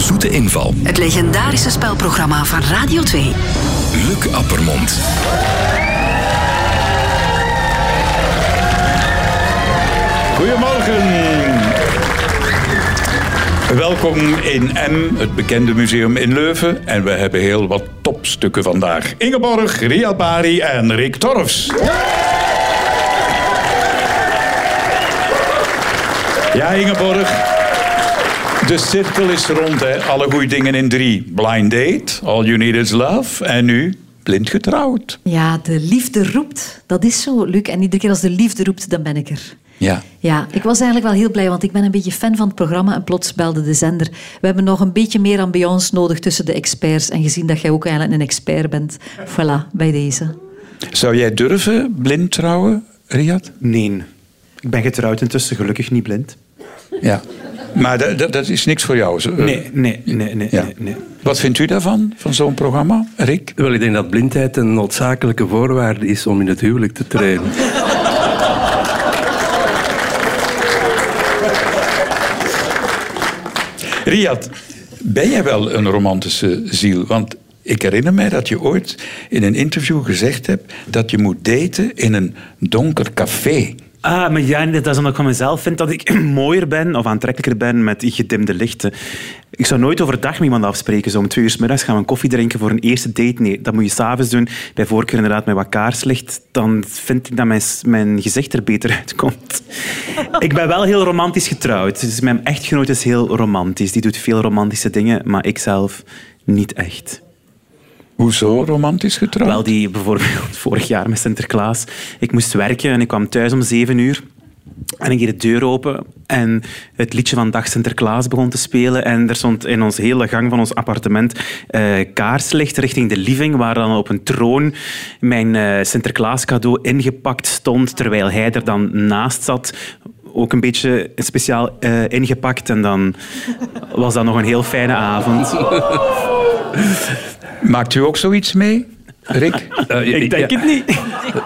Zoete Inval. Het legendarische spelprogramma van Radio 2. Luc Appermond. Goedemorgen. Welkom in M, het bekende museum in Leuven. En we hebben heel wat topstukken vandaag. Ingeborg, Riyad Bari en Rick Torfs. Ja, Ingeborg. De cirkel is rond, hè. Alle goede dingen in drie. Blind date, all you need is love. En nu, blind getrouwd. Ja, de liefde roept. Dat is zo, Luc. En iedere keer als de liefde roept, dan ben ik er. Ja. Ja, ik was eigenlijk wel heel blij, want ik ben een beetje fan van het programma. En plots belde de zender. We hebben nog een beetje meer ambiance nodig tussen de experts. En gezien dat jij ook eigenlijk een expert bent. Voilà, bij deze. Zou jij durven blind trouwen, Riyad? Nee. Ik ben getrouwd intussen, gelukkig niet blind. Ja. Maar dat- dat- dat is niks voor jou. zo- eh, Nee, nee, nee, nee, Ja. nee, nee. Wat vindt u daarvan, van zo'n programma, Rick? Wel, ik denk dat blindheid een noodzakelijke voorwaarde is om in het huwelijk te treden. Riyad, ben jij wel een romantische ziel? Want ik herinner mij dat je ooit in een interview gezegd hebt dat je moet daten in een donker café. Ah, maar ja, dat is omdat ik van mezelf vind dat ik mooier ben of aantrekkelijker ben met gedimde lichten. Ik zou nooit overdag met iemand afspreken. Zo om twee uur 's middags gaan we een koffie drinken voor een eerste date. Nee, dat moet je s'avonds doen. Bij voorkeur inderdaad met wat kaarslicht. Dan vind ik dat mijn, s- mijn gezicht er beter uitkomt. Ik ben wel heel romantisch getrouwd. Dus mijn echtgenoot is heel romantisch. Die doet veel romantische dingen, maar ik zelf niet echt. Hoezo romantisch getrouwd? Wel, die bijvoorbeeld vorig jaar met Sinterklaas. Ik moest werken en ik kwam thuis om zeven uur. En ik deed de deur open en het liedje van Dag Sinterklaas begon te spelen. En er stond in ons hele gang van ons appartement eh, kaarslicht richting de living, waar dan op een troon mijn eh, Sinterklaas cadeau ingepakt stond, terwijl hij er dan naast zat. Ook een beetje speciaal eh, ingepakt. En dan was dat nog een heel fijne avond. Maakt u ook zoiets mee, Rick? Eh, Ik denk ja, het niet.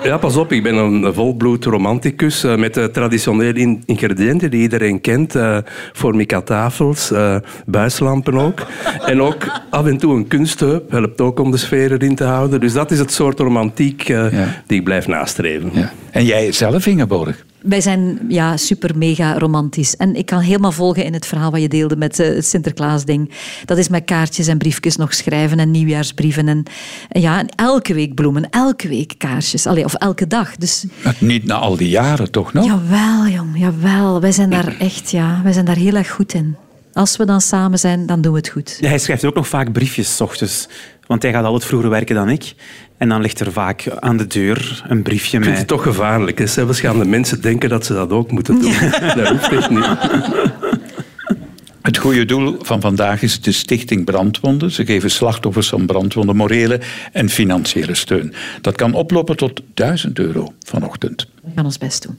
Ja, pas op, ik ben een volbloed romanticus eh, met de traditionele in- ingrediënten die iedereen kent. eh formica tafels, eh, buislampen ook. En ook af en toe een kunstheup, helpt ook om de sfeer erin te houden. Dus dat is het soort romantiek eh, Ja. die ik blijf nastreven. Ja. En jij zelf, Ingeborg? Wij zijn ja, super mega romantisch. En ik kan helemaal volgen in het verhaal wat je deelde met eh, het Sinterklaasding. Dat is met kaartjes en briefjes nog schrijven en nieuwjaarsbrieven. En, en ja, en elke week bloemen, elke week kaarsjes. Allee, of elke dag. Dus Maar Niet na al die jaren, toch nog? jawel, jong, jawel. Wij zijn daar echt, ja, wij zijn daar heel erg goed in. Als we dan samen zijn, dan doen we het goed. Ja, hij schrijft ook nog vaak briefjes 's ochtends. Want hij gaat altijd vroeger werken dan ik. En dan ligt er vaak aan de deur een briefje Ik vind met... het toch gevaarlijk. Hè? Zelfs gaan de mensen denken dat ze dat ook moeten doen. Dat hoeft echt niet. Het goede doel van vandaag is de Stichting Brandwonden. Ze geven slachtoffers van brandwonden morele en financiële steun. Dat kan oplopen tot 1000 euro vanochtend. We gaan ons best doen.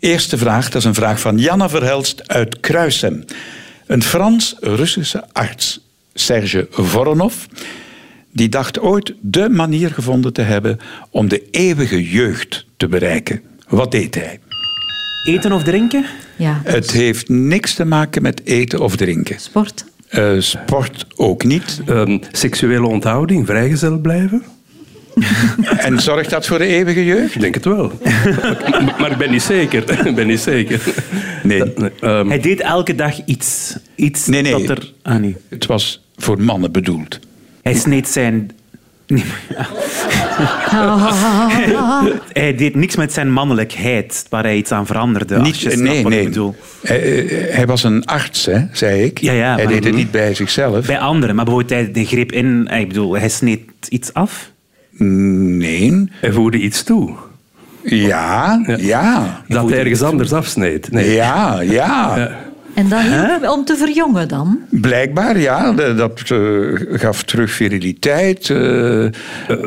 Eerste vraag, dat is een vraag van Janna Verhelst uit Kruisem. Een Frans-Russische arts, Serge Voronov, die dacht ooit de manier gevonden te hebben om de eeuwige jeugd te bereiken. Wat deed hij? Eten of drinken? Mm. Ja. Het heeft niks te maken met eten of drinken. Sport? Eh, sport ook niet. Ehm, seksuele onthouding, vrijgezel blijven? En zorgt dat voor de eeuwige jeugd? Ik denk het wel. maar ik ben niet zeker. Ik ben niet zeker. Nee. Dat- nee, ehm, Hij deed elke dag iets. Iets Nee, nee. dat er... Ah, nee. Het was voor mannen bedoeld. Hij sneed zijn... Nee, maar- Ah, hij deed niks met zijn mannelijkheid, waar hij iets aan veranderde. als je snapt nee, wat ik nee. bedoel. Hij, eh, hij was een arts, hè, zei ik. Ja, ja, hij maar- deed het niet bij zichzelf. Bij anderen, maar bijvoorbeeld hij greep in... eh, Ik bedoel, hij sneed iets af. Nee. hij voerde iets toe. Ja, ja. Ja, Dat hij ergens anders afsneed. Nee. ja. En dan om te verjongen dan? Blijkbaar, ja. De- Dat eh, gaf terug viriliteit. eh, Eh,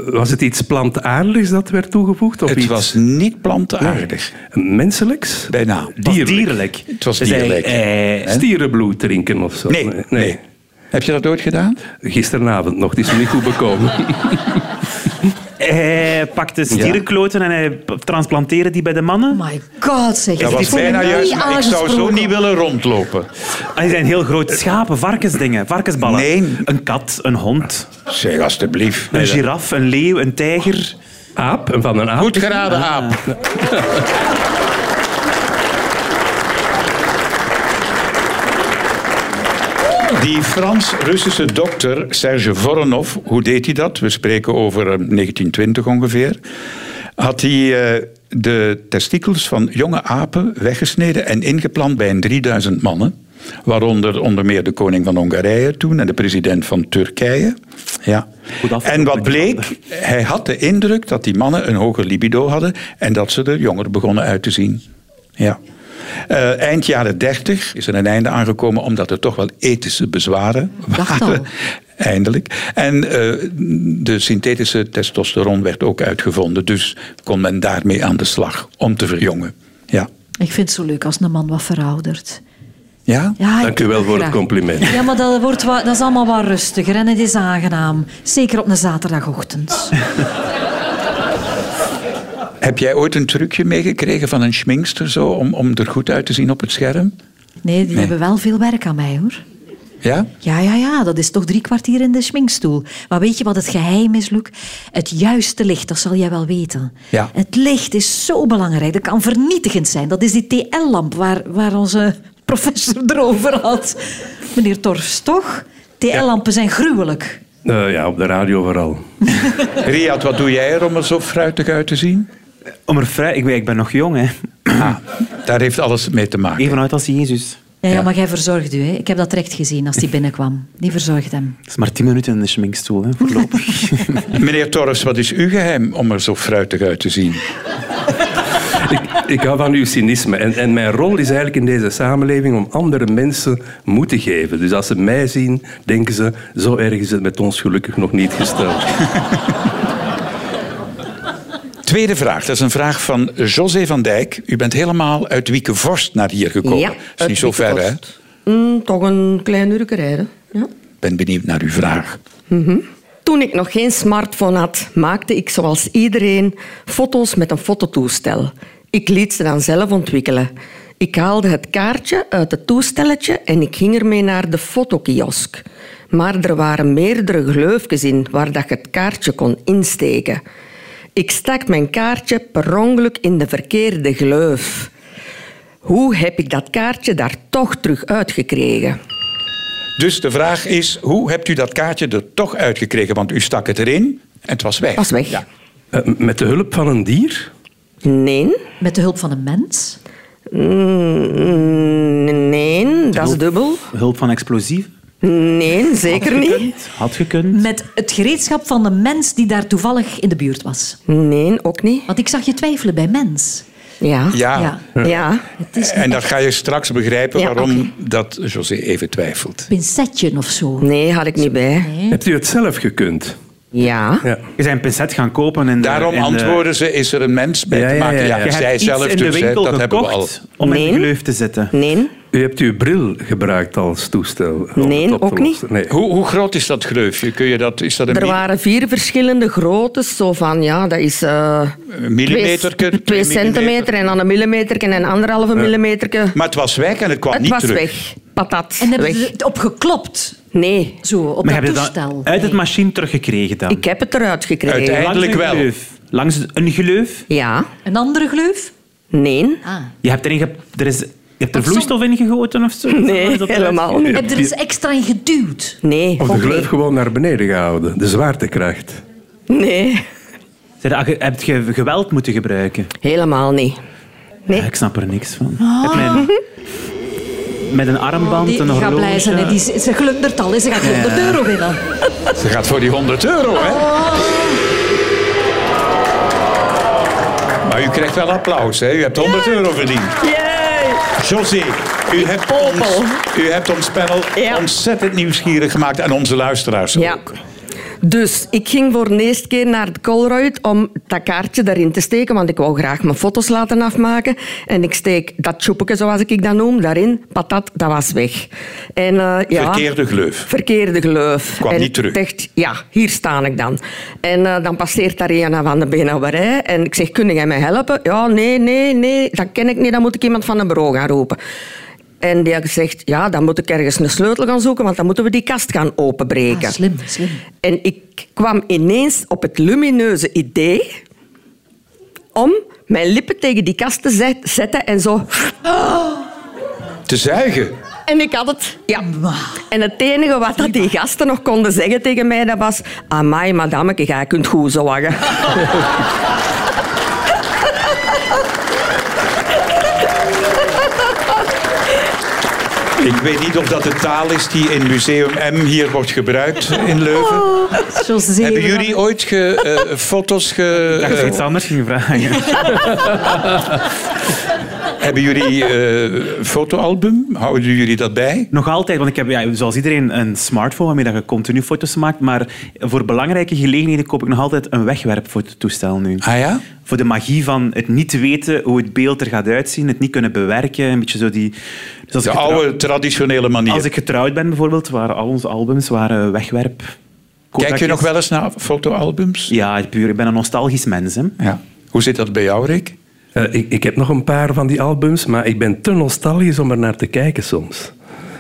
Was het iets plantaardigs dat werd toegevoegd? Of het iets was niet plantaardig. menselijks? Bijna. Het was Dierlijk. dierlijk. Het was Dus hij, dierlijk. eh, Hè? Stierenbloed drinken of zo? Nee, nee. Heb je dat ooit gedaan? Gisteravond nog, het is me niet goed bekomen. Eh, Hij pakte stierenkloten en hij p- transplanteerde die bij de mannen. Oh My god, zeg. Dat ik was voel me bijna niet juist. maar Ik zou zo aangesproken. niet willen rondlopen. Ah, die zijn heel groot. Schapen, varkensdingen, varkensballen. Nee. Een kat, een hond, Zeg, alstublieft. een giraf, een leeuw, een tijger. Aap, en van een aap. Goed geraden, aap. Die Frans-Russische dokter Serge Voronov, hoe deed hij dat? We spreken over eh, 1920 ongeveer. Had hij eh, de testikels van jonge apen weggesneden en ingeplant bij een 3000 mannen. Waaronder onder meer de koning van Hongarije toen en de president van Turkije. Ja. Goed afgelopen, En wat die bleek? Hij had de indruk dat die mannen een hoger libido hadden en dat ze er jonger begonnen uit te zien. Ja. Eh, eind jaren 30 is er een einde aangekomen omdat er toch wel ethische bezwaren Dacht al. waren. Eindelijk. En eh, de synthetische testosteron werd ook uitgevonden. Dus kon men daarmee aan de slag om te verjongen. Ja. Ik vind het zo leuk als een man wat veroudert. Ja? Ja, ik Dank u doe dat wel voor het graag. compliment. Ja, maar dat, wordt wat, dat is allemaal wat rustiger en het is aangenaam. Zeker op een zaterdagochtend. Heb jij ooit een trucje meegekregen van een schminkster zo, om, om er goed uit te zien op het scherm? Nee, die Nee. hebben wel veel werk aan mij, hoor. Ja? Ja, ja, ja, dat is toch drie kwartier in de schminkstoel. Maar weet je wat het geheim is, Luc? Het juiste licht, dat zal jij wel weten. Ja. Het licht is zo belangrijk, dat kan vernietigend zijn. Dat is die TL-lamp waar, waar onze professor erover had. Meneer Torfs, toch? TL-lampen zijn gruwelijk. Eh, ja, op de radio vooral. Riad, wat doe jij er om er zo fruitig uit te zien? Om er vrij... Ik ben, ik ben nog jong, hè. Ah, daar heeft alles mee te maken. Even uit als Jezus. Ja, ja, Ja. maar jij verzorgt u, hè? Ik heb dat recht gezien als die binnenkwam. Die verzorgt hem. Dat is maar tien minuten in de schminkstoel, hè, voorlopig. Meneer Torres, wat is uw geheim om er zo fruitig uit te zien? Ik, ik hou van uw cynisme. En, en mijn rol is eigenlijk in deze samenleving om andere mensen moed te geven. Dus als ze mij zien, denken ze, zo erg is het met ons gelukkig nog niet gesteld. Tweede vraag, dat is een vraag van José van Dijk. U bent helemaal uit Wiekenvorst naar hier gekomen. Ja, dat is niet zo ver, hè? Ik Mm, toch een klein uur rijden. Ja. ben benieuwd naar uw vraag. Toen ik nog geen smartphone had, maakte ik zoals iedereen foto's met een fototoestel. Ik liet ze dan zelf ontwikkelen. Ik haalde het kaartje uit het toestelletje en ik ging ermee naar de fotokiosk. Maar er waren meerdere gleufjes in waar dat je het kaartje kon insteken. Ik stak mijn kaartje per ongeluk in de verkeerde gleuf. Hoe heb ik dat kaartje daar toch terug uitgekregen? Dus de vraag is, hoe hebt u dat kaartje er toch uitgekregen? Want u stak het erin en het was weg. Was weg. Ja. Eh, met de hulp van een dier? Nee. Met de hulp van een mens? Mm, Nee, dat is dubbel. Hulp van explosieven. Nee, zeker niet. Had gekund. Met het gereedschap van de mens die daar toevallig in de buurt was. Nee, ook niet. Want ik zag je twijfelen bij mens. Ja. Ja. Ja. Ja. Het is En een dan ga je straks begrijpen Ja, waarom oké. dat José even twijfelt. pincetje of zo. Nee, had ik niet bij. Hebt u het zelf gekund? Ja. Ja. Je zijn pincet gaan kopen. In de, Daarom in de- antwoorden ze, is er een mens bij Ja, te ja, maken? ja, Ja, ja. Je Je zij hebt iets zelf in de dus, hè, winkel dat hebben we al. gekocht om in Nee. de gleuf te zetten. Nee. U hebt uw bril gebruikt als toestel. om Nee, het op te ook niet. lossen. Nee. Hoe, hoe groot is dat gleufje? Kun je dat, is dat een Er mi- waren vier verschillende groottes. Zo van, ja, dat is... eh, millimeterke, Twee, twee twee millimeter. centimeter en dan een millimeter en anderhalve millimeter. Maar het was weg en het kwam Het niet was terug. weg. Patat. En hebben weg. ze het opgeklopt? Nee. Zo, op dat Maar heb je dat toestel. uit het Nee. machine teruggekregen dan? Ik heb het eruit gekregen. Uiteindelijk- Langs een wel. gleuf. Langs een gleuf. Ja. Een andere gleuf? Nee. Ah. Je hebt, erin ge- er is, je hebt er Of som- vloeistof in gegoten of zo? Nee, Is dat eruit? helemaal niet. Heb je er eens extra in geduwd? Nee. Oh. Of ook de gleuf niet. gewoon naar beneden gehouden. De zwaartekracht. Nee. Zijn er- ge- Heb je geweld moeten gebruiken? Helemaal niet. Ja, ik snap er niks van. Heb mijn- met een armband, Ah. Die een gaat horloge... blij zijn. hè. Die, ze glundert al. hè. Ze gaat 100 euro winnen. Ze gaat voor die 100 euro, hè? Maar u krijgt wel applaus, hè? U hebt 100 euro verdiend. José, u hebt, ons, u hebt ons panel Ja. ontzettend nieuwsgierig gemaakt en onze luisteraars Ja. ook. Dus ik ging voor de eerste keer naar de Colruyt om dat kaartje daarin te steken, want ik wou graag mijn foto's laten afmaken. En ik steek dat tjoepje, zoals ik dat noem, daarin. Patat, dat was weg. En, eh, ja, Verkeerde gleuf. Verkeerde gleuf. Kwam En niet terug. ik dacht, ja, hier sta ik dan. En eh, dan passeert daar een van de benauwerij. En ik zeg, kun jij mij helpen? Ja, nee, nee, nee, dat ken ik niet. Dan moet ik iemand van een bureau gaan roepen. En die had gezegd, ja, dan moet ik ergens een sleutel gaan zoeken, want dan moeten we die kast gaan openbreken. Ah, slim, slim. En ik kwam ineens op het lumineuze idee om mijn lippen tegen die kast te zet- zetten en zo... Te zuigen. En ik had het. Ja. En het enige wat dat die gasten nog konden zeggen tegen mij, dat was... Amai, madameke, jij kunt goed zorgen. Ik weet niet of dat de taal is die in Museum M hier wordt gebruikt in Leuven. José, Hebben we jullie ooit ge, eh, foto's ge, Ik dacht dat je iets anders ging vragen. Hebben jullie eh fotoalbum? Houden jullie dat bij? Nog altijd, want ik heb ja, zoals iedereen een smartphone waarmee dat je continu foto's maakt. Maar voor belangrijke gelegenheden koop ik nog altijd een wegwerpfototoestel nu. Ah ja? Voor de magie van het niet weten hoe het beeld er gaat uitzien, het niet kunnen bewerken. Een beetje zo die... Dus als De ik getrouw- oude traditionele manier. Als ik getrouwd ben bijvoorbeeld, waren al onze albums waren wegwerp. Kijk je Kotakjes. nog wel eens naar fotoalbums? Ja, puur. Ik ben een nostalgisch mens. Hè. Ja. Hoe zit dat bij jou, Rick? Eh, ik, ik heb nog een paar van die albums, maar ik ben te nostalgisch om er naar te kijken soms.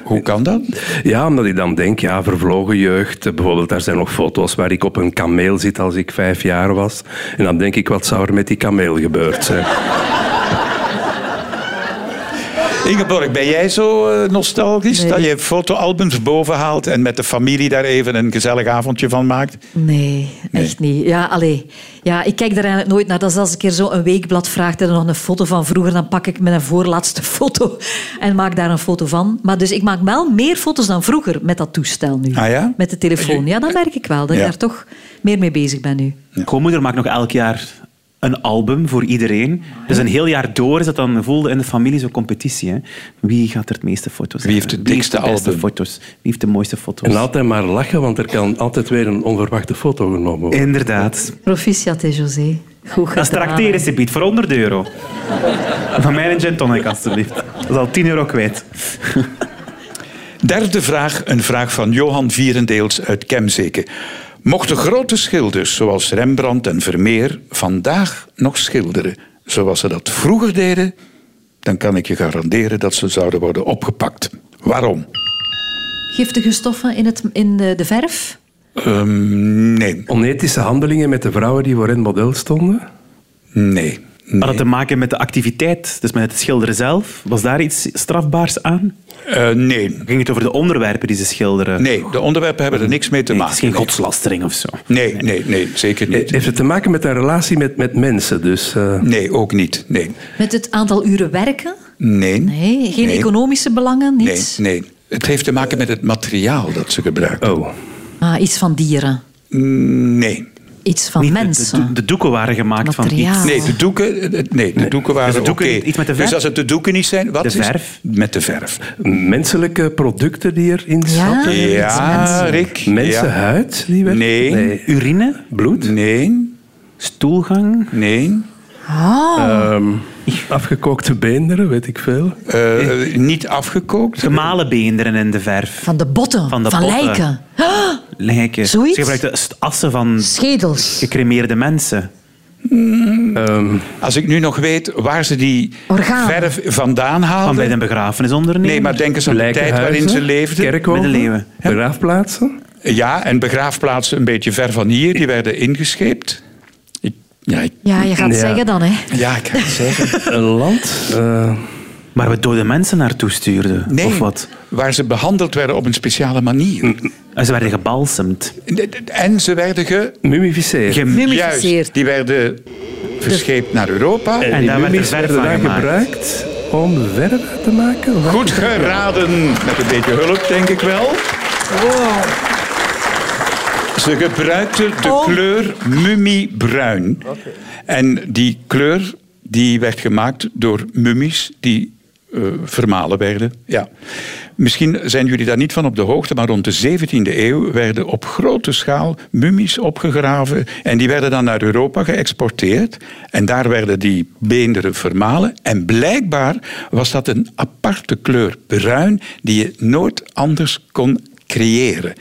Hoe kan dat? Ja, omdat ik dan denk, ja, vervlogen jeugd. Eh, Bijvoorbeeld, daar zijn nog foto's waar ik op een kameel zit als ik vijf jaar was. En dan denk ik, wat zou er met die kameel gebeurd zijn? Ingeborg, ben jij zo eh, nostalgisch Nee. dat je fotoalbums boven haalt en met de familie daar even een gezellig avondje van maakt? Nee, echt niet. Ja, allee. ja, ik kijk daar eigenlijk nooit naar. Dat is als ik keer zo een weekblad vraag en er nog een foto van vroeger, dan pak ik mijn voorlaatste foto en maak daar een foto van. Maar dus ik maak wel meer foto's dan vroeger met dat toestel nu. Ah ja? Met de telefoon. Ja, dat merk ik wel. Dat Ja. ik daar toch meer mee bezig ben nu. Schoonmoeder maakt nog elk jaar een album voor iedereen. Dus een heel jaar door is dat dan voelde in de familie zo'n competitie. Hè. Wie gaat er het meeste foto's Wie heeft hebben? het dikste de beste album? foto's? Wie heeft de mooiste foto's? En altijd maar lachen, want er kan altijd weer een onverwachte foto genomen worden. Inderdaad. Proficiat, hè, José. Goed Dat is gedaan. trakteerrecepiet voor 100 euro. Van mij een gin tonic, alstublieft. Dat is al 10 euro kwijt. Derde vraag, een vraag van Johan Vierendeels uit Kemzeke. Mochten grote schilders zoals Rembrandt en Vermeer vandaag nog schilderen zoals ze dat vroeger deden, dan kan ik je garanderen dat ze zouden worden opgepakt. Waarom? Giftige stoffen in, het, in de, de verf. Ehm, nee, Onethische handelingen met de vrouwen die voor hen model stonden. nee. Had het te maken met de activiteit, dus met het schilderen zelf? Was daar iets strafbaars aan? Eh, nee. Ging het over de onderwerpen die ze schilderen? Nee, de onderwerpen hebben er niks mee te Nee, het is maken. geen godslastering of zo. Nee, nee, nee, zeker Eh, niet. Heeft het te maken met een relatie met, met mensen? Dus, eh, Nee, ook niet. Nee. Met het aantal uren werken. Nee. Nee, geen Nee. economische belangen, Nee, niets. nee. Het heeft te maken met het materiaal dat ze gebruiken. oh, Ah, iets van dieren. Nee. Iets van Niet de- mensen. De, de doeken waren gemaakt Materiaal. van iets. Nee, de doeken, eh, nee, de doeken waren Dus de doeken, oké. iets met de verf? Dus als het de doeken niet zijn, wat De is verf? Met de verf. menselijke producten die erin zaten? Eh, Ja, Rick. ja. Mensenhuid die werd... Nee. Eh, Urine, Bloed? Nee, stoelgang, nee. Oh, eh, Ehm, afgekookte beenderen, weet ik veel. Eh, Niet afgekookt. gemalen beenderen in de verf. Van de botten, Van van, de botten. lijken, Lijken. Zoiets? Ze gebruikten st- assen van schedels, gecremeerde mensen. Als ik nu nog weet waar ze die Organen. verf vandaan haalden. Van bij de begrafenisonderneming. Nee, maar denk eens aan de tijd waarin ze leefden. Middeleeuwen. kerkhoven, begraafplaatsen. Ja, en begraafplaatsen een beetje ver van hier, die werden ingescheept. Ik, ja, ik, Ja, je gaat het Ja. zeggen dan, hè. ja, ik ga het zeggen. Een land. eh, Maar we dode mensen naartoe stuurden. Nee, Of wat? waar ze behandeld werden op een speciale manier. En ze werden gebalsemd. En ze werden ge... mummificeerd. Gem- Juist, die werden verscheept naar Europa. en die daar werd er mummies verf werden van daar gemaakt. gebruikt om verf uit te maken. Wat? Goed geraden. Met een beetje hulp, denk ik wel. Ze gebruikten de kleur mummibruin. En die kleur die werd gemaakt door mummies die eh, vermalen werden. Ja. Misschien zijn jullie daar niet van op de hoogte, maar rond de 17e eeuw werden op grote schaal mummies opgegraven en die werden dan naar Europa geëxporteerd en daar werden die beenderen vermalen en blijkbaar was dat een aparte kleur bruin die je nooit anders kon creëren.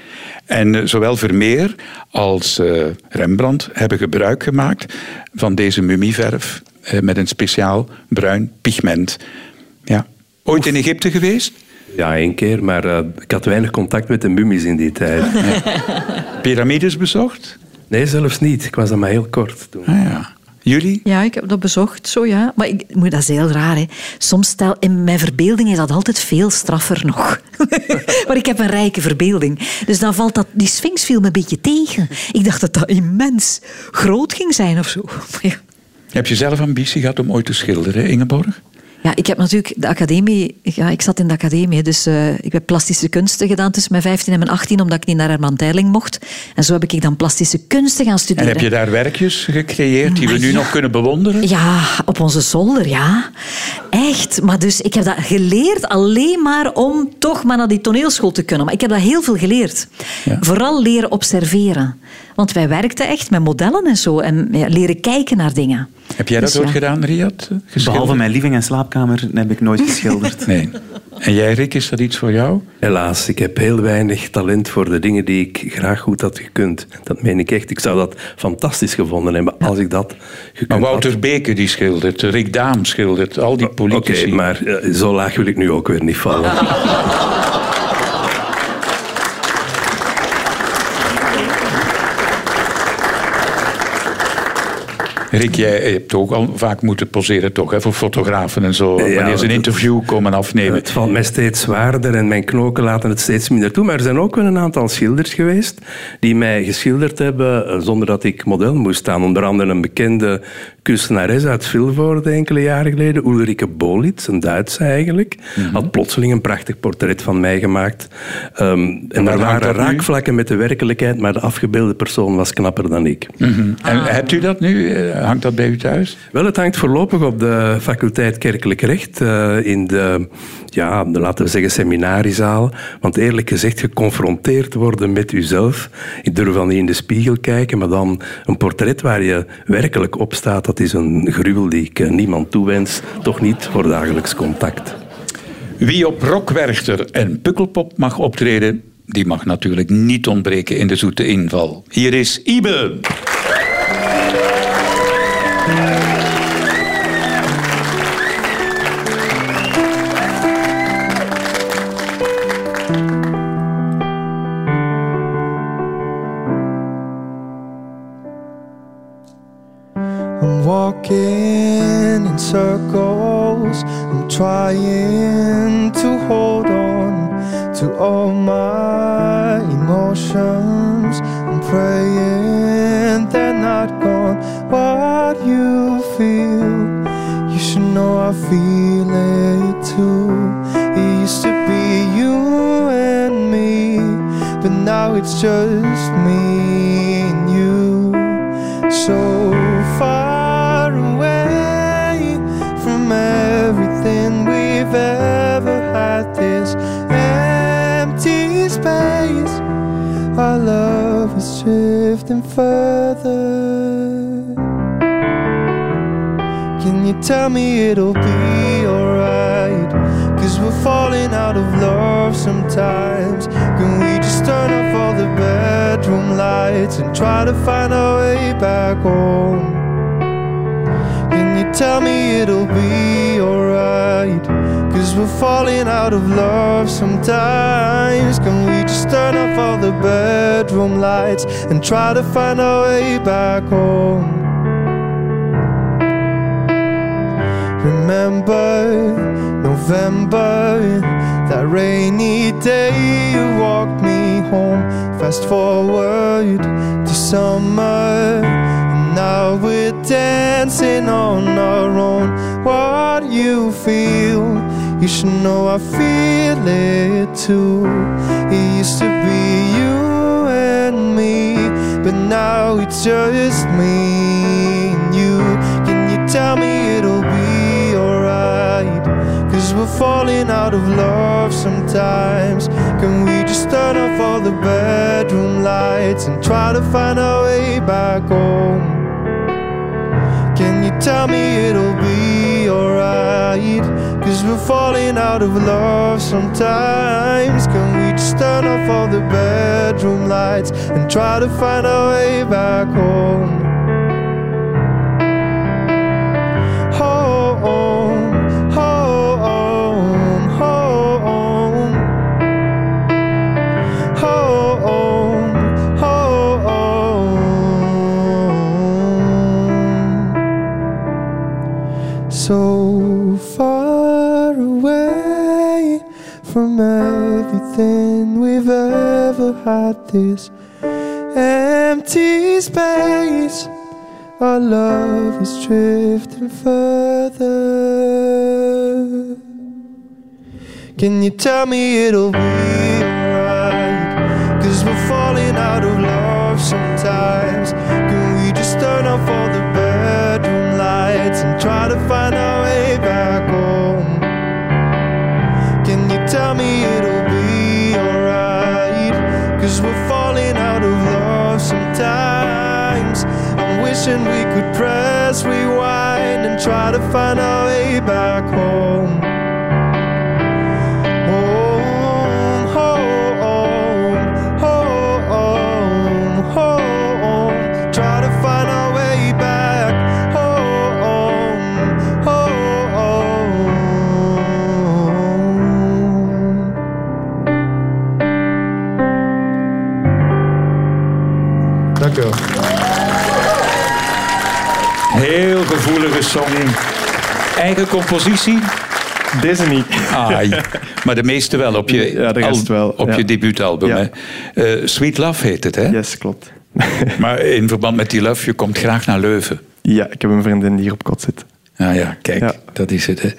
En eh, zowel Vermeer als eh, Rembrandt hebben gebruik gemaakt van deze mumieverf eh, met een speciaal bruin pigment. Ja. Ooit in Egypte geweest? Ja, één keer, maar eh, ik had weinig contact met de mummies in die tijd. Pyramides bezocht? Nee, zelfs niet. Ik was dan maar heel kort toen. Ah, ja. Jullie? Ja, ik heb dat bezocht, zo ja. Maar ik, moet- dat is heel raar, hè. Soms stel, in mijn verbeelding is dat altijd veel straffer nog. maar ik heb een rijke verbeelding. Dus dan valt dat, die sphinx viel me een beetje tegen. Ik dacht dat dat immens groot ging zijn of zo. Maar ja. Heb je zelf ambitie gehad om ooit te schilderen, Ingeborg? Ja, ik heb natuurlijk de academie... Ja, ik zat in de academie, dus eh, ik heb plastische kunsten gedaan tussen mijn 15 en mijn 18, omdat ik niet naar Herman Teiling mocht. En zo heb ik dan plastische kunsten gaan En studeren. heb je daar werkjes gecreëerd die we Maar nu ja. nog kunnen bewonderen? Ja, op onze zolder, ja. Echt. Maar dus ik heb dat geleerd alleen maar om toch maar naar die toneelschool te kunnen. Maar ik heb dat heel veel geleerd. Ja. Vooral leren observeren. Want wij werkten echt met modellen en zo. En ja, leren kijken naar dingen. Heb jij dat Dus ooit ja. gedaan, Riyad? Eh, Geschilderd? Behalve mijn living en slaapkamer heb ik nooit geschilderd. Nee. En jij, Rick, is dat iets voor jou? Helaas, ik heb heel weinig talent voor de dingen die ik graag goed had gekund. Dat meen ik echt. Ik zou dat fantastisch gevonden hebben als ik dat gekund Maar Wouter had. Beke die schildert, Rick Daam schildert, al die Oké, politici. maar eh, zo laag wil ik nu ook weer niet vallen. Rick, jij hebt ook al vaak moeten poseren toch, hè, voor fotografen en zo. Ja, wanneer ze een dat- interview komen afnemen. Het valt mij steeds zwaarder en mijn knoken laten het steeds minder toe. Maar er zijn ook wel een aantal schilders geweest die mij geschilderd hebben eh, zonder dat ik model moest staan. Onder andere een bekende kunstenares uit Vilvoorde enkele jaren geleden, Ulrike Bolitz, een Duitse eigenlijk, Mhm. had plotseling een prachtig portret van mij gemaakt. Ehm, en waar daar hangt waren dat nu? raakvlakken met de werkelijkheid, maar de afgebeelde persoon was knapper dan ik. Mhm. En hebt u dat nu? Eh, Hangt dat bij u thuis? Wel, het hangt voorlopig op de faculteit Kerkelijk Recht eh, in de, ja, de, laten we zeggen, seminariezaal. Want eerlijk gezegd, geconfronteerd worden met uzelf. Ik durf dan niet in de spiegel kijken, maar dan een portret waar je werkelijk op staat, dat is een gruwel die ik eh, niemand toewens. Toch niet voor dagelijks contact. Wie op Rockwerchter en Pukkelpop mag optreden, die mag natuurlijk niet ontbreken in de zoete inval. Hier is Ibe. I'm walking in circles. I'm trying to hold on to all my emotions. I'm praying they're not gone. What you feel, you should know I feel it too. It used to be you and me, but now it's just me and you so far away from everything we've ever had. This empty space, our love is drifting further. Can you tell me it'll be alright? Cause we're falling out of love sometimes. Can we just turn off all the bedroom lights and try to find our way back home? Can you tell me it'll be alright? Cause we're falling out of love sometimes. Can we just turn off all the bedroom lights and try to find our way back home? Remember November, that rainy day you walked me home. Fast forward to summer, and now we're dancing on our own. What you feel, you should know I feel it too. It used to be you and me, but now it's just me and you. Can you tell me it'll be alright? Cause we're falling out of love sometimes. Can we just turn off all the bedroom lights and try to find our way back home? Can you tell me it'll be alright? Cause we're falling out of love sometimes. Can we just turn off all the bedroom lights and try to find our way back home? Home, home, home, home, home. So far away from everything we've ever had this empty space. Our love is drifting further. Can you tell me it'll be alright? Cause we're falling out of love sometimes. Can we just turn off all the bedroom lights and try to find our way back home? Can you tell me it'll be alright? Cause we're falling out of love sometimes. I'm wishing we could press rewind and try to find our way back home. Home, home, home, home. Try to find our way back. Home, home. Dank u wel. Heel gevoelige song. Eigen compositie? Deze niet. Ai. Maar de meeste wel op je, Ja, de rest al- wel, op ja. je debuutalbum. Ja. Hè? Eh, Sweet Love heet het, hè? Yes, klopt. Maar in verband met die love, je komt graag naar Leuven. ja, ik heb een vriendin die hier op kot zit. Ah ja, kijk, Ja. dat is het. Hè.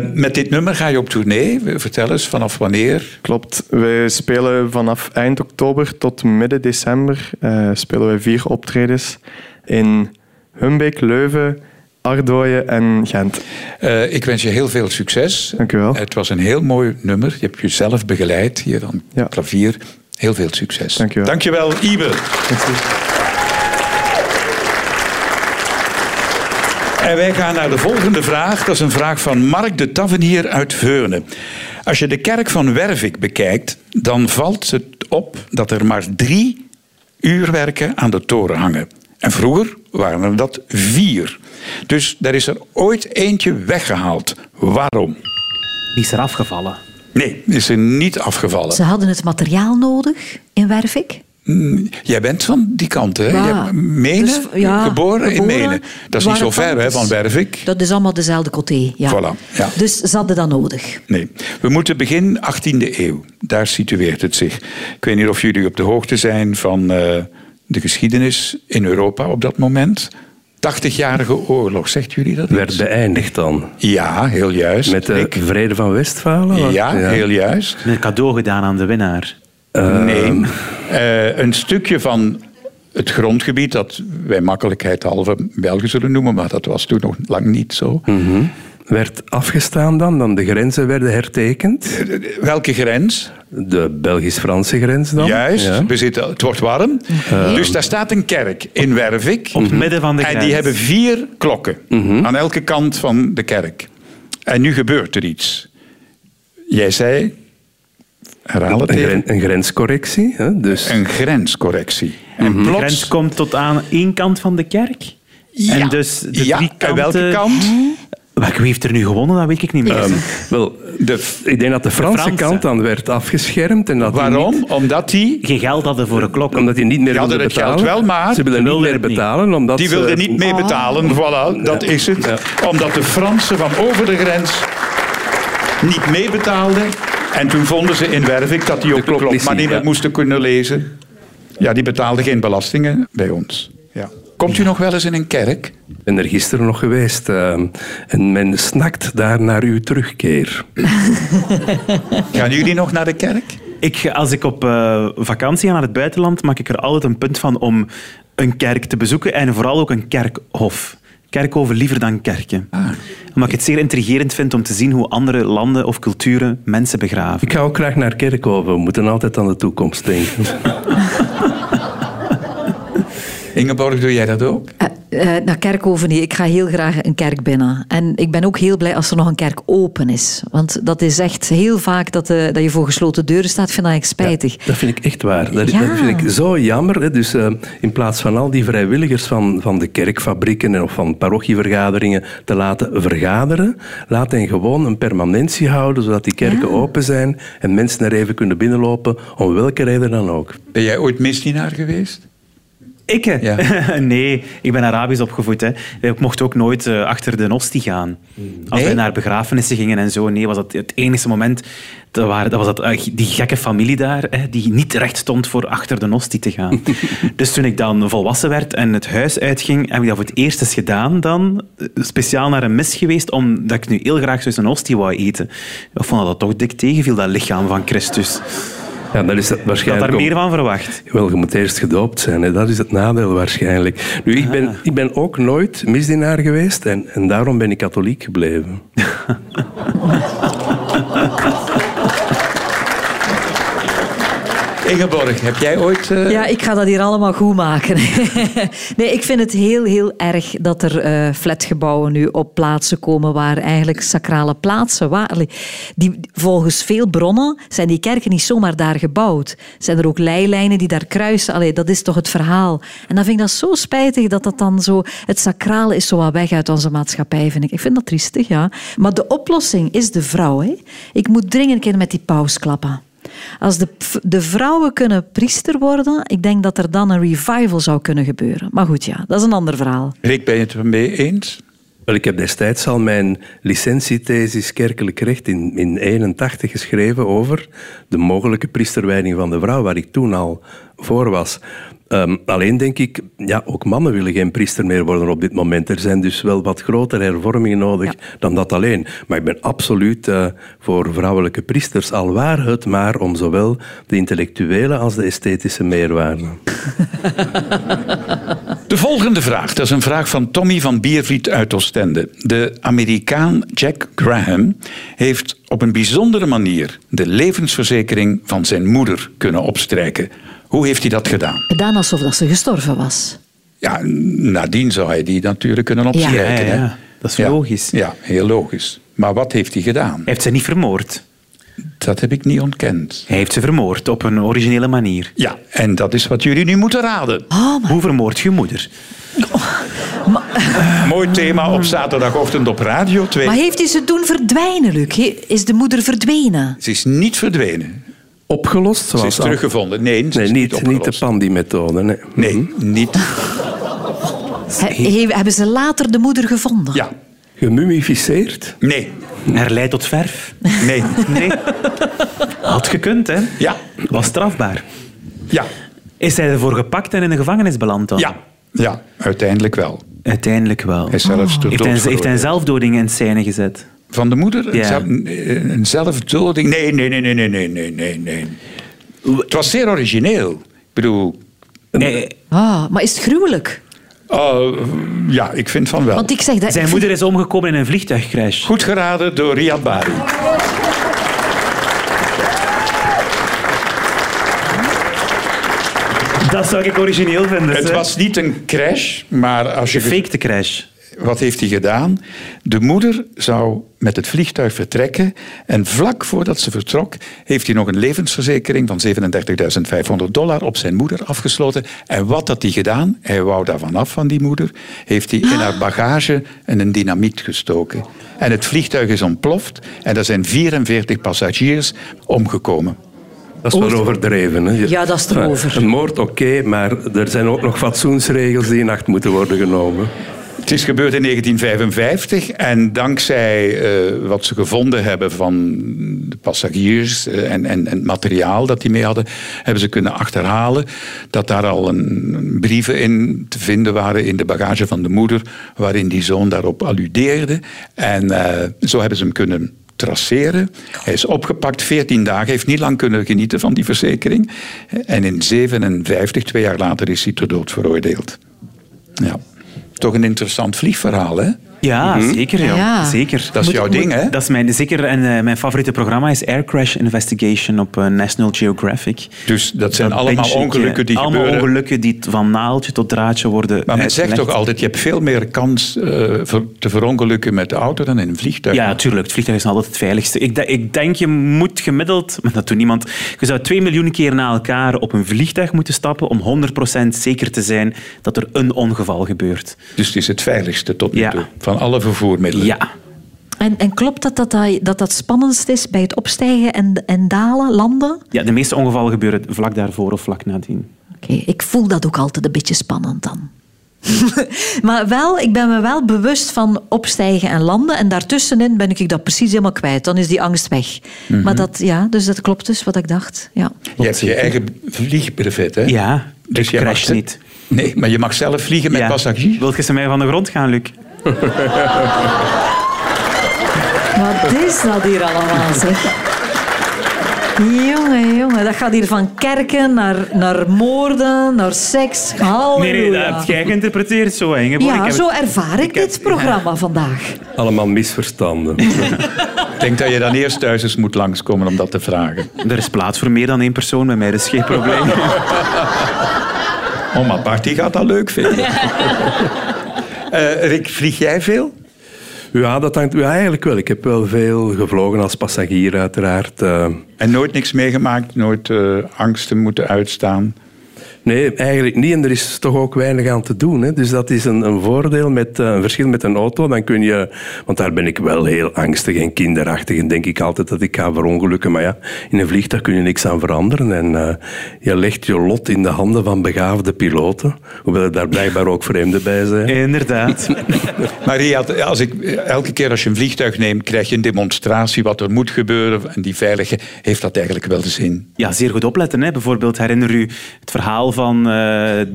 Eh, met dit nummer ga je op tournee. Vertel eens, vanaf wanneer? Klopt. Wij spelen vanaf eind oktober tot midden december eh, spelen wij vier optredens in Humbeek, Leuven, Ardooien en Gent. Eh, ik wens je heel veel succes. Dank u wel. Het was een heel mooi nummer. Je hebt jezelf begeleid hier aan Ja. klavier. Heel veel succes. Dank u wel. Dankjewel, Ibe. En wij gaan naar de volgende vraag. Dat is een vraag van Mark de Tavernier uit Veurne. Als je de kerk van Wervik bekijkt, dan valt het op dat er maar drie uurwerken aan de toren hangen. En vroeger waren er dat vier. Dus daar is er ooit eentje weggehaald. Waarom? Die is er afgevallen. Nee, is er niet afgevallen. Ze hadden het materiaal nodig in Wervik. Eh, Jij bent van die kant, hè? Ja. Jij bent Menen, Dus, ja, geboren, in geboren, Menen. Dat is niet zo waarvan ver, hè, van is- Wervik. Dat is allemaal dezelfde coté. Ja. Voilà, ja. Dus ze hadden dat nodig. Nee, we moeten begin 18e eeuw. Daar situeert het zich. Ik weet niet of jullie op de hoogte zijn van eh, de geschiedenis in Europa op dat moment. 80-jarige oorlog, zegt jullie dat? Werd iets? beëindigd dan. Ja, heel juist. Met de Ik- Vrede van Westfalen? eh, was ja, het? heel juist. Een cadeau gedaan aan de winnaar. nee, Eh, een stukje van het grondgebied dat wij makkelijkheid halve België zullen noemen, maar dat was toen nog lang niet zo. Hmm. Werd afgestaan dan, dan de grenzen werden hertekend. Eh, Welke grens? De Belgisch-Franse grens dan. Juist, Ja. we zitten, het wordt warm. Dus daar staat een kerk in Wervik. Op het midden van de En Mhm. grens. die hebben vier klokken aan elke kant van de kerk. En nu gebeurt er iets. Jij zei, herhaal het Een, gren- even, een grenscorrectie. Hè? Dus een grenscorrectie. En De plots... grens komt tot aan één kant van de kerk. Ja. En dus de Ja, drie en kanten... welke kant? Welke- Wie heeft er nu gewonnen? Dat weet ik niet meer. wel, De ik denk dat de Franse, Franse. kant dan werd afgeschermd. En dat die Waarom? niet- Omdat die... Geen geld hadden voor een klok. omdat die niet meer Die wilden hadden het betalen. geld wel, maar Ze wilden ze niet wilden meer het niet. betalen. Omdat Die ze- wilden niet Ah. mee betalen, voilà, dat is het. Omdat de Fransen van over de grens niet meebetaalden. En toen vonden ze in Wervik dat die op de klok klok niet maar zien, niet meer ja. moesten kunnen lezen. Ja, die betaalden geen belastingen bij ons. Ja. Komt u nog wel eens in een kerk? Ik ben er gisteren nog geweest. eh, en men snakt daar naar uw terugkeer. Gaan jullie nog naar de kerk? Ik, ga- als ik op eh, vakantie ga naar het buitenland, maak ik er altijd een punt van om een kerk te bezoeken en vooral ook een kerkhof. Kerkhoven liever dan kerken. Ah. Omdat ik het zeer intrigerend vind om te zien hoe andere landen of culturen mensen begraven. Ik ga ook graag naar Kerkhoven. We moeten altijd aan de toekomst denken. Ingeborg, doe jij dat ook? Eh, eh, naar Kerkhoven, nee. Ik ga heel graag een kerk binnen. En ik ben ook heel blij als er nog een kerk open is. Want dat is echt heel vaak dat, eh, dat je voor gesloten deuren staat. vind dat echt spijtig. Dat vind ik echt waar. Dat, Ja. dat vind ik zo jammer. Hè. Dus eh, in plaats van al die vrijwilligers van, van de kerkfabrieken en of van parochievergaderingen te laten vergaderen, laat hen gewoon een permanentie houden, zodat die kerken open zijn en mensen er even kunnen binnenlopen, om welke reden dan ook. Ben jij ooit misdienaar geweest? Ik? hè? nee, ik ben Arabisch opgevoed. Hè. Ik mocht ook nooit eh, achter de nostie gaan. Als Nee? wij naar begrafenissen gingen en zo. Nee, was dat het enige moment. Dat, waren, dat was dat, eh, die gekke familie daar, hè, die niet recht stond voor achter de nostie te gaan. dus toen ik dan volwassen werd en het huis uitging, heb ik dat voor het eerst eens gedaan dan. eh, Speciaal naar een mis geweest, omdat ik nu heel graag zo'n nostie wou eten. Ik vond dat dat toch dik tegenviel, dat lichaam van Christus. Ja, dan is dat Ik had waarschijnlijk daar ook- meer van verwacht. Wel, je moet eerst gedoopt zijn. Hè. Dat is het nadeel waarschijnlijk. Nu, ik ben, ik ben ook nooit misdienaar geweest en, en daarom ben ik katholiek gebleven. Ingeborg, heb jij ooit... eh, Ja, ik ga dat hier allemaal goed maken. nee, ik vind het heel, heel erg dat er eh, flatgebouwen nu op plaatsen komen waar eigenlijk sacrale plaatsen waren. Allee, Die, volgens veel bronnen zijn die kerken niet zomaar daar gebouwd. Zijn er ook leilijnen die daar kruisen? Allee, dat is toch het verhaal. En dan vind ik dat zo spijtig dat dat dan zo... Het sacrale is zo wat weg uit onze maatschappij, vind ik. Ik vind dat triestig, ja. Maar de oplossing is de vrouw, hè. Ik moet dringend een keer met die paus klappen. Als de, de vrouwen kunnen priester worden, ik denk dat er dan een revival zou kunnen gebeuren. Maar goed, ja, dat is een ander verhaal. Rick, ben je het ermee eens? Wel, ik heb destijds al mijn licentiethesis kerkelijk recht in 1981 geschreven over de mogelijke priesterwijding van de vrouw, waar ik toen al voor was. Ehm, alleen denk ik, ja, ook mannen willen geen priester meer worden op dit moment. Er zijn dus wel wat grotere hervormingen nodig dan dat alleen. Maar ik ben absoluut eh, voor vrouwelijke priesters, al waar het maar om zowel de intellectuele als de esthetische meerwaarde. De volgende vraag, dat is een vraag van Tommy van Biervliet uit Oostende. De Amerikaan Jack Graham heeft op een bijzondere manier de levensverzekering van zijn moeder kunnen opstrijken. Hoe heeft hij dat gedaan? Gedaan alsof dat ze gestorven was. Ja, nadien zou hij die natuurlijk kunnen opstrijken. Ja, ja, ja. hè? Dat is logisch. Ja, heel logisch. Maar wat heeft hij gedaan? Hij heeft ze niet vermoord. Dat heb ik niet ontkend. Hij heeft ze vermoord op een originele manier. Ja, en dat is wat jullie nu moeten raden. Oh, Hoe vermoord je moeder? Mooi thema op zaterdagochtend op Radio 2. Maar heeft hij ze doen verdwijnen, Luc? He- Is de moeder verdwenen? Ze is niet verdwenen. Opgelost zoals Ze is al- teruggevonden. Nee, ze Nee, is niet, niet, opgelost. de pandemethode. Nee. Mhm. Nee, niet. He- he- hebben ze later de moeder gevonden? Ja. Gemummificeerd? Nee. Herleid tot verf? Nee. Nee. Had gekund, hè? Ja. Was strafbaar. Ja. Is hij ervoor gepakt en in de gevangenis beland dan? Ja. Ja, uiteindelijk wel. Uiteindelijk wel. Hij is zelfs tot Heeft dood hij, heeft hij veroordeeld. zelfdoding in scène gezet? Van de moeder? Ja. Een, zelf, een zelfdoding? Nee, nee, nee, nee, nee, nee, nee, nee, nee. Het was zeer origineel. Ik bedoel, Nee, Ah, maar is het gruwelijk? eh, ja, ik vind van wel. Want ik zeg dat... zijn ik vind- moeder is omgekomen in een vliegtuigcrash. Goed geraden door Riyad Bari. Dat zou ik origineel vinden. Het hè. was niet een crash, maar als je... Gefakte crash. Wat heeft hij gedaan? De moeder zou met het vliegtuig vertrekken. En vlak voordat ze vertrok, heeft hij nog een levensverzekering van 37.500 dollar op zijn moeder afgesloten. En wat had hij gedaan? Hij wou daarvan af van die moeder. Heeft hij in haar bagage een een dynamiet gestoken. En het vliegtuig is ontploft. En er zijn 44 passagiers omgekomen. Dat is wel overdreven. Hè? Ja, dat is Maar erover. Een moord, oké, maar er zijn ook nog fatsoensregels die in acht moeten worden genomen. Het is gebeurd in 1955 en dankzij eh, wat ze gevonden hebben van de passagiers eh, en, en, en het materiaal dat die mee hadden, hebben ze kunnen achterhalen dat daar al een, brieven in te vinden waren in de bagage van de moeder, waarin die zoon daarop alludeerde. En eh, zo hebben ze hem kunnen traceren. Hij is opgepakt, 14 dagen, heeft niet lang kunnen genieten van die verzekering. En in 57, twee jaar later, is hij ter dood veroordeeld. Ja. Toch een interessant vliegverhaal, hè? Ja, zeker. Ja. Ja. zeker. Mhm. Dat is jouw ding, hè? Dat is mijn, zeker en, eh, mijn favoriete programma is Air Crash Investigation op eh, National Geographic. Dus dat zijn Dat allemaal benching, ongelukken die allemaal gebeuren. ongelukken die t- van naaldje tot draadje worden eh, Maar men uitgelegd. zegt toch altijd, je hebt veel meer kans eh, ver- te verongelukken met de auto dan in een vliegtuig. Ja, tuurlijk. Het vliegtuig is altijd het veiligste. Ik, de- ik denk, je moet gemiddeld... Maar dat doet niemand. Je zou twee miljoen keer na elkaar op een vliegtuig moeten stappen om 100% zeker te zijn dat er een ongeval gebeurt. Dus het is het veiligste tot nu Ja. toe van alle vervoermiddelen. Ja. En, en klopt dat dat, dat dat dat spannendst is bij het opstijgen en, en dalen, landen? ja, de meeste ongevallen gebeuren vlak daarvoor of vlak nadien. Oké, ik voel dat ook altijd een beetje spannend dan. maar wel, ik ben me wel bewust van opstijgen en landen. En daartussenin ben ik dat precies helemaal kwijt. Dan is die angst weg. Mhm. Maar dat, ja, dus dat klopt dus wat ik dacht. Ja. Je hebt je eigen vliegbrevet, hè? Ja, Dus ik jij crash mag ze- niet. Nee, maar je mag zelf vliegen met ja. passagiers. Wil je ze mij van de grond gaan, Luc? Wat is dat hier allemaal, zeg? Jongen, jongen, dat gaat hier van kerken naar, naar moorden, naar seks. Halleluja. Nee, nee, dat heb jij geïnterpreteerd zo, Ingeborg. Ik Ja, heb zo het- ervaar ik, dit programma vandaag. Allemaal misverstanden. Ik denk dat je dan eerst thuis eens moet langskomen om dat te vragen. Er is plaats voor meer dan één persoon bij mij, dat is geen probleem. Oma Oh, Bart, die gaat dat leuk vinden. Eh, Rick, vlieg jij veel? ja, dat hangt ja, eigenlijk wel. Ik heb wel veel gevlogen als passagier, uiteraard. Eh, En nooit niks meegemaakt, nooit eh, angsten moeten uitstaan. nee, eigenlijk niet. En er is toch ook weinig aan te doen. Hè. Dus dat is een, een voordeel met eh, een verschil met een auto. Dan kun je, want daar ben ik wel heel angstig en kinderachtig. En denk ik altijd dat ik ga verongelukken. Maar ja, in een vliegtuig kun je niks aan veranderen. En eh, je legt je lot in de handen van begaafde piloten. Hoewel er daar blijkbaar ook vreemden bij zijn. Inderdaad. Maar Riyad, als ik, elke keer als je een vliegtuig neemt, krijg je een demonstratie wat er moet gebeuren. En die veiligheid, heeft dat eigenlijk wel de zin? Ja, zeer goed opletten. Hè. Bijvoorbeeld herinner u het verhaal van eh,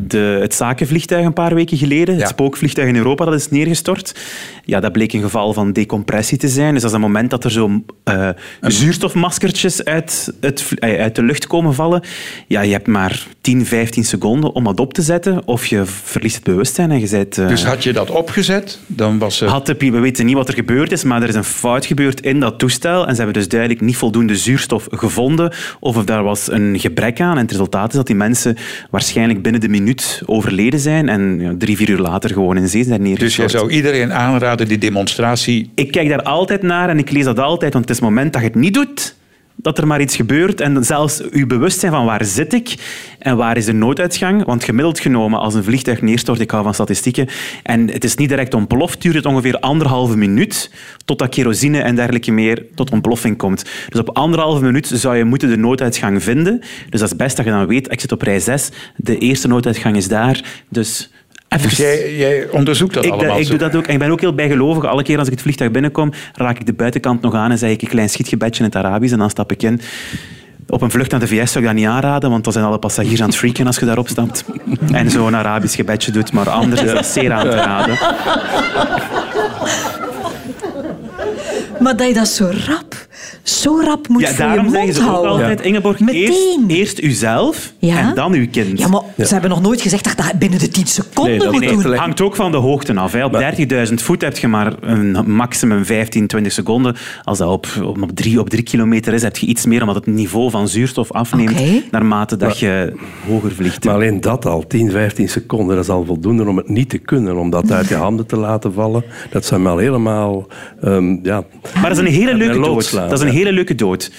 de, het zakenvliegtuig een paar weken geleden. Ja. Het spookvliegtuig in Europa dat is neergestort. Ja, dat bleek een geval van decompressie te zijn. Dus dat is het moment dat er zo eh, zuurstofmaskertjes uit, het, vl- eh, uit de lucht komen vallen. Ja, je hebt maar 10, 15 seconden om dat op te zetten. Of je verliest het bewustzijn en je bent... eh, Dus had je dat opgezet, dan was eh, het... had de pi- we weten niet wat er gebeurd is, maar er is een fout gebeurd in dat toestel. En ze hebben dus duidelijk niet voldoende zuurstof gevonden. Of of daar was een gebrek aan. En het resultaat is dat die mensen waarschijnlijk binnen de minuut overleden zijn. En ja, drie, vier uur later gewoon in zee zijn Dus jij neergestort. zou iedereen aanraden die demonstratie... Ik kijk daar altijd naar en ik lees dat altijd. Want het is het moment dat je het niet doet, dat er maar iets gebeurt. En zelfs je bewustzijn van waar zit ik en waar is de nooduitgang. Want gemiddeld genomen, als een vliegtuig neerstort, ik hou van statistieken, en het is niet direct ontploft, duurt het ongeveer anderhalve minuut totdat kerosine en dergelijke meer tot ontploffing komt. Dus op anderhalve minuut zou je moeten de nooduitgang vinden. Dus dat is best dat je dan weet, ik zit op rij 6, de eerste nooduitgang is daar, dus... even- Dus jij, jij onderzoekt dat ik, eh, allemaal ik zo. doe dat ook. En ik ben ook heel bijgelovig. Alle keer als ik het vliegtuig binnenkom, raak ik de buitenkant nog aan en zeg ik een klein schietgebedje in het Arabisch en dan stap ik in. Op een vlucht naar de VS zou ik dat niet aanraden, want dan zijn alle passagiers aan het freaken als je daarop stapt. En zo'n Arabisch gebedje doet, maar anders is dat zeer aan te raden. Maar dat je dat zo rap, zo rap moet Ja, voor je daarom mond zeggen ze ook houden. altijd, Ingeborg, eerst, Meteen. eerst uzelf Ja? en dan uw kind. Ja, maar ze hebben nog nooit gezegd dat je dat binnen de 10 seconden Nee, dat moet is doen. echt Het hangt ook van de hoogte af. Hè. Op 30.000 voet heb je maar een maximum 15, 20 seconden. Als dat op, op, op drie, op drie kilometer is, heb je iets meer, omdat het niveau van zuurstof afneemt Oké. naarmate dat je hoger vliegt. Maar alleen dat al, 10, 15 seconden, dat is al voldoende om het niet te kunnen. Om dat uit je handen te laten vallen, dat zijn wel helemaal... ehm, ja. Maar dat is een hele leuke Een dood. loodslaan, Dat is een ja. hele leuke dood.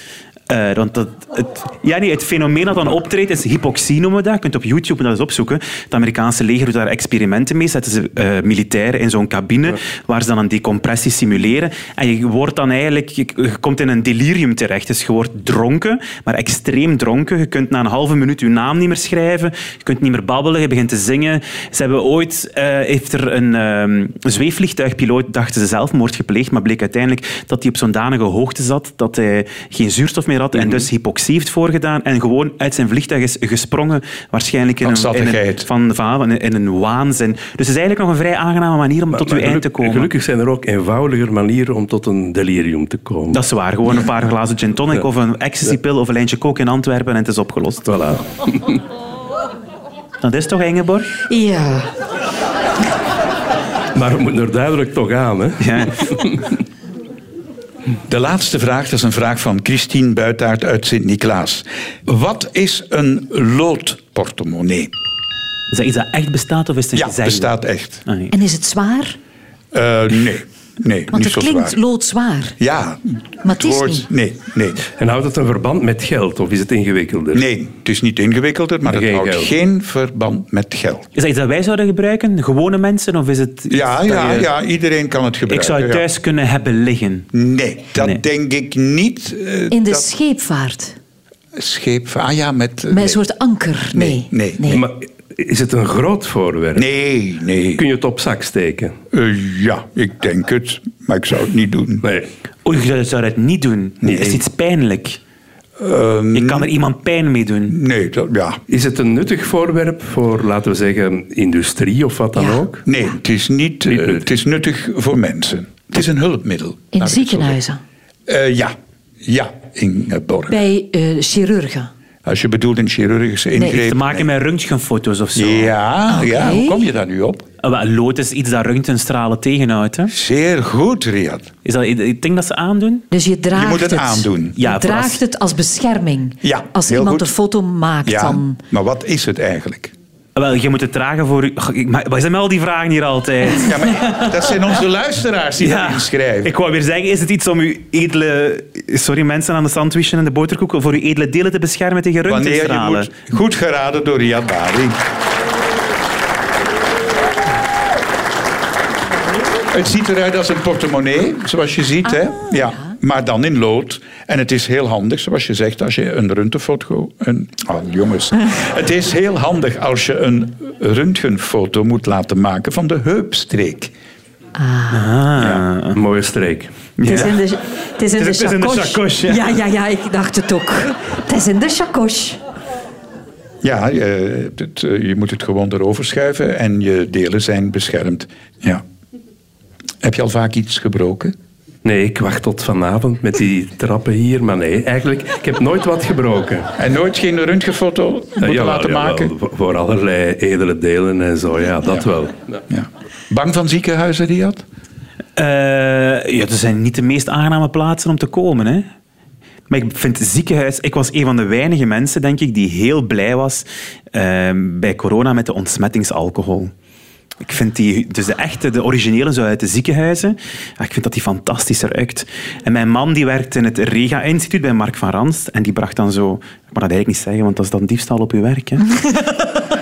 Eh, want dat, het, ja, nee, het fenomeen dat dan optreedt is hypoxie noemen we dat. Je kunt op YouTube dat eens opzoeken. Het Amerikaanse leger doet daar experimenten mee. Zetten ze eh, militairen in zo'n cabine waar ze dan een decompressie simuleren. En je wordt dan eigenlijk, je, je komt in een delirium terecht. Dus je wordt dronken, maar extreem dronken. Je kunt na een halve minuut je naam niet meer schrijven. Je kunt niet meer babbelen. Je begint te zingen. Ze hebben ooit, eh, heeft er een ehm, zweefvliegtuigpiloot, dachten ze zelfmoord gepleegd, maar bleek uiteindelijk dat hij op zo'n danige hoogte zat dat hij geen zuurstof meer Mhm. had en dus hypoxie heeft voorgedaan en gewoon uit zijn vliegtuig is gesprongen. Waarschijnlijk Van in een, in een, zattigheid. van, van, in een waanzin. Dus het is eigenlijk nog een vrij aangename manier om tot uw Maar eind te geluk- komen. Gelukkig zijn er ook eenvoudiger manieren om tot een delirium te komen. Dat is waar. Gewoon een paar glazen gin tonic of een ecstasypil of een lijntje kook in Antwerpen en het is opgelost. Voilà. Dat is toch, Ingeborg? Ja. Maar we moeten er duidelijk toch aan. Hè? Ja. De laatste vraag, dat is een vraag van Christine Buitaert uit Sint-Niklaas. Wat is een loodportemonnee? Is dat iets dat echt bestaat of is het een Ja, gezegde? bestaat echt. Ah, nee. En is het zwaar? Eh, nee, nee, Want niet het zo klinkt zwaar. loodzwaar. Ja, Maar het is niet. Nee, nee. En houdt het een verband met geld of is het ingewikkelder? Nee, het is niet ingewikkelder, maar het Geen houdt geld. geen verband met geld. Is dat iets dat wij zouden gebruiken? Gewone mensen? Of is het iets Ja, dat ja, je- ja, iedereen kan het Ik gebruiken. zou het ja. thuis kunnen hebben liggen. Nee, dat Nee. denk ik niet. Eh, In de dat scheepvaart. scheep. Ah ja, met. eh, Met nee. een soort anker. Nee, Nee. nee, Maar is het een groot voorwerp? Nee, nee. Kun je het op zak steken? Eh, ja, ik denk het, maar ik zou het niet doen. Nee. Oh, je zou- zou dat niet doen. Nee. Dat is iets pijnlijk. Ehm, Je kan er iemand pijn mee doen. nee, dat, ja. Is het een nuttig voorwerp voor, laten we zeggen, industrie of wat dan Ja. ook? Nee, het is niet. eh, Niet nuttig. het is nuttig voor mensen. Het is een hulpmiddel. In laat ik het zo ziekenhuizen. zeggen. Eh, ja, ja, Ingeborg. Bij eh, chirurgen. Als je bedoelt een chirurgische ingreep. Te maken met röntgenfoto's of zo. Ja, ja, Oké. hoe kom je daar nu op? Ah, wel, Lood is iets dat röntgenstralen tegenhoudt. Hè? Zeer goed, Riyad. Is dat, ik denk dat ze aandoen. Dus je draagt moet het het aandoen. Ja, je voor draagt als- het als bescherming. Ja, als heel iemand goed. een foto maakt Ja, dan. maar wat is het eigenlijk? Ah, Wel, je moet het dragen voor... je- Goh, ik- Maar wat zijn met al die vragen hier altijd? Ja, maar dat zijn onze luisteraars die dat inschrijven. Ik wou weer zeggen, is het iets om uw edele... Sorry mensen aan de sandwichen en de boterkoeken, voor uw edele delen te beschermen tegen Wanneer je röntgenstralen? moet... Goed geraden door Riyad Bari. Het ziet eruit als een portemonnee, zoals je ziet. hè? Ja. Maar dan in lood. En het is heel handig, zoals je zegt, als je een röntgenfoto... Een... Oh, jongens. het is heel handig als je een röntgenfoto moet laten maken van de heupstreek. Ah. Een mooie streek. Het is in de, het is in Het is in de chacoche. chacoche, ja. ja. ja, ja, ik dacht het ook. Het is in de chacoche. Ja, je, het, eh, je moet het gewoon erover schuiven en je delen zijn beschermd. Ja. Heb je al vaak iets gebroken? Nee, ik wacht tot vanavond met die trappen hier. Maar nee, eigenlijk, ik heb nooit wat gebroken. En nooit geen Eh, röntgenfoto moeten Ja, laten maken? Voor, voor allerlei edele delen en zo, ja, dat wel. Ja. Bang van ziekenhuizen, die had? Eh, ja, dat zijn niet de meest aangename plaatsen om te komen, hè. Maar ik vind ziekenhuis... Ik was een van de weinige mensen, denk ik, die heel blij was ehm, bij corona met de ontsmettingsalcohol. Ik vind die... Dus de echte, de originele zo uit de ziekenhuizen, ja, ik vind dat die fantastisch ruikt. En mijn man die werkt in het Rega-instituut bij Mark van Ranst en die bracht dan zo... Ik mag dat eigenlijk niet zeggen, want dat is dan diefstal op uw werk, hè.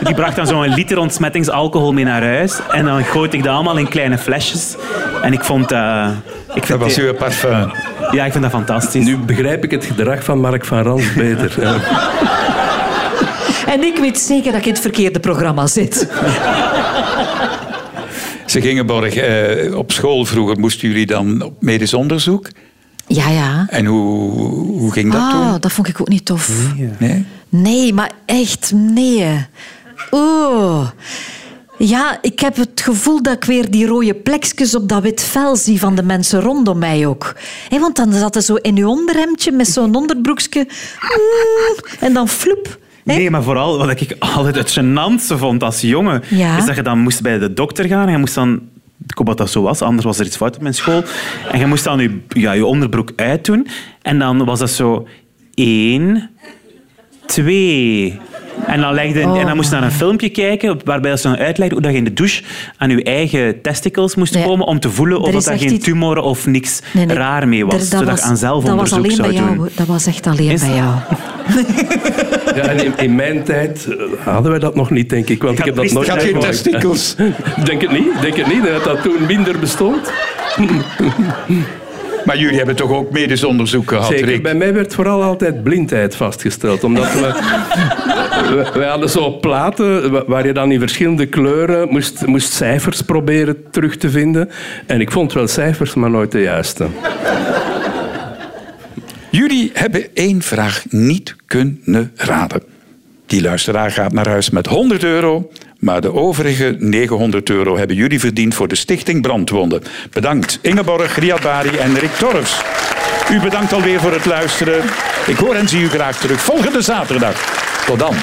Die bracht dan zo'n liter ontsmettingsalcohol mee naar huis. En dan goot ik dat allemaal in kleine flesjes. En ik vond eh, ik vind Dat was die- uw parfum. Ja, ik vind dat fantastisch. Nu begrijp ik het gedrag van Mark van Rans beter. Ja. En ik weet zeker dat ik in het verkeerde programma zit. Ze gingen borg, eh, op school vroeger moesten jullie dan op medisch onderzoek. Ja, ja. En hoe, hoe ging dat Hmm. Ah, toen? dat vond ik ook niet tof. Nee? Nee, maar echt, nee. Oeh. Ja, ik heb het gevoel dat ik weer die rode plekjes op dat wit vel zie van de mensen rondom mij ook. Hé, want dan zat er zo in uw onderhemdje met zo'n onderbroekje. Mm, en dan floep. Hé? Nee, maar vooral wat ik altijd het gênantste vond als jongen, Ja. is dat je dan moest bij de dokter gaan en je moest dan... Ik hoop dat dat zo was, anders was er iets fout op mijn school. En je moest dan je, ja, je onderbroek uitdoen. En dan was dat zo... één, twee... En dan, legde, Oh. en dan moest je naar een filmpje kijken waarbij ze dan uitlegde hoe dat je in de douche aan je eigen testicles moest Nee. komen om te voelen Er of is dat daar echt geen iets- tumoren of niks Nee, nee, raar mee was. er- zodat je aan zelfonderzoek Dat was alleen zou bij jou. doen. hoor. Dat was echt alleen Is- bij jou. Ja, en in, in mijn tijd eh, hadden wij dat nog niet, denk ik. Want had ik, heb dat priester- nooit Ik had geen meegemaakt. testikels. Denk het niet, denk het niet, dat dat toen minder bestond. Maar jullie hebben toch ook medisch onderzoek gehad, Zeker, Rick? bij mij werd vooral altijd blindheid vastgesteld. Omdat we, we- wij hadden zo platen wa- waar je dan in verschillende kleuren moest, moest cijfers proberen terug te vinden. En ik vond wel cijfers, maar nooit de juiste. Jullie hebben één vraag niet kunnen raden. Die luisteraar gaat naar huis met 100 euro, maar de overige 900 euro hebben jullie verdiend voor de Stichting Brandwonden. Bedankt Ingeborg, Riyad Bari en Rick Torfs. U bedankt alweer voor het luisteren. Ik hoor en zie u graag terug volgende zaterdag. Tot dan.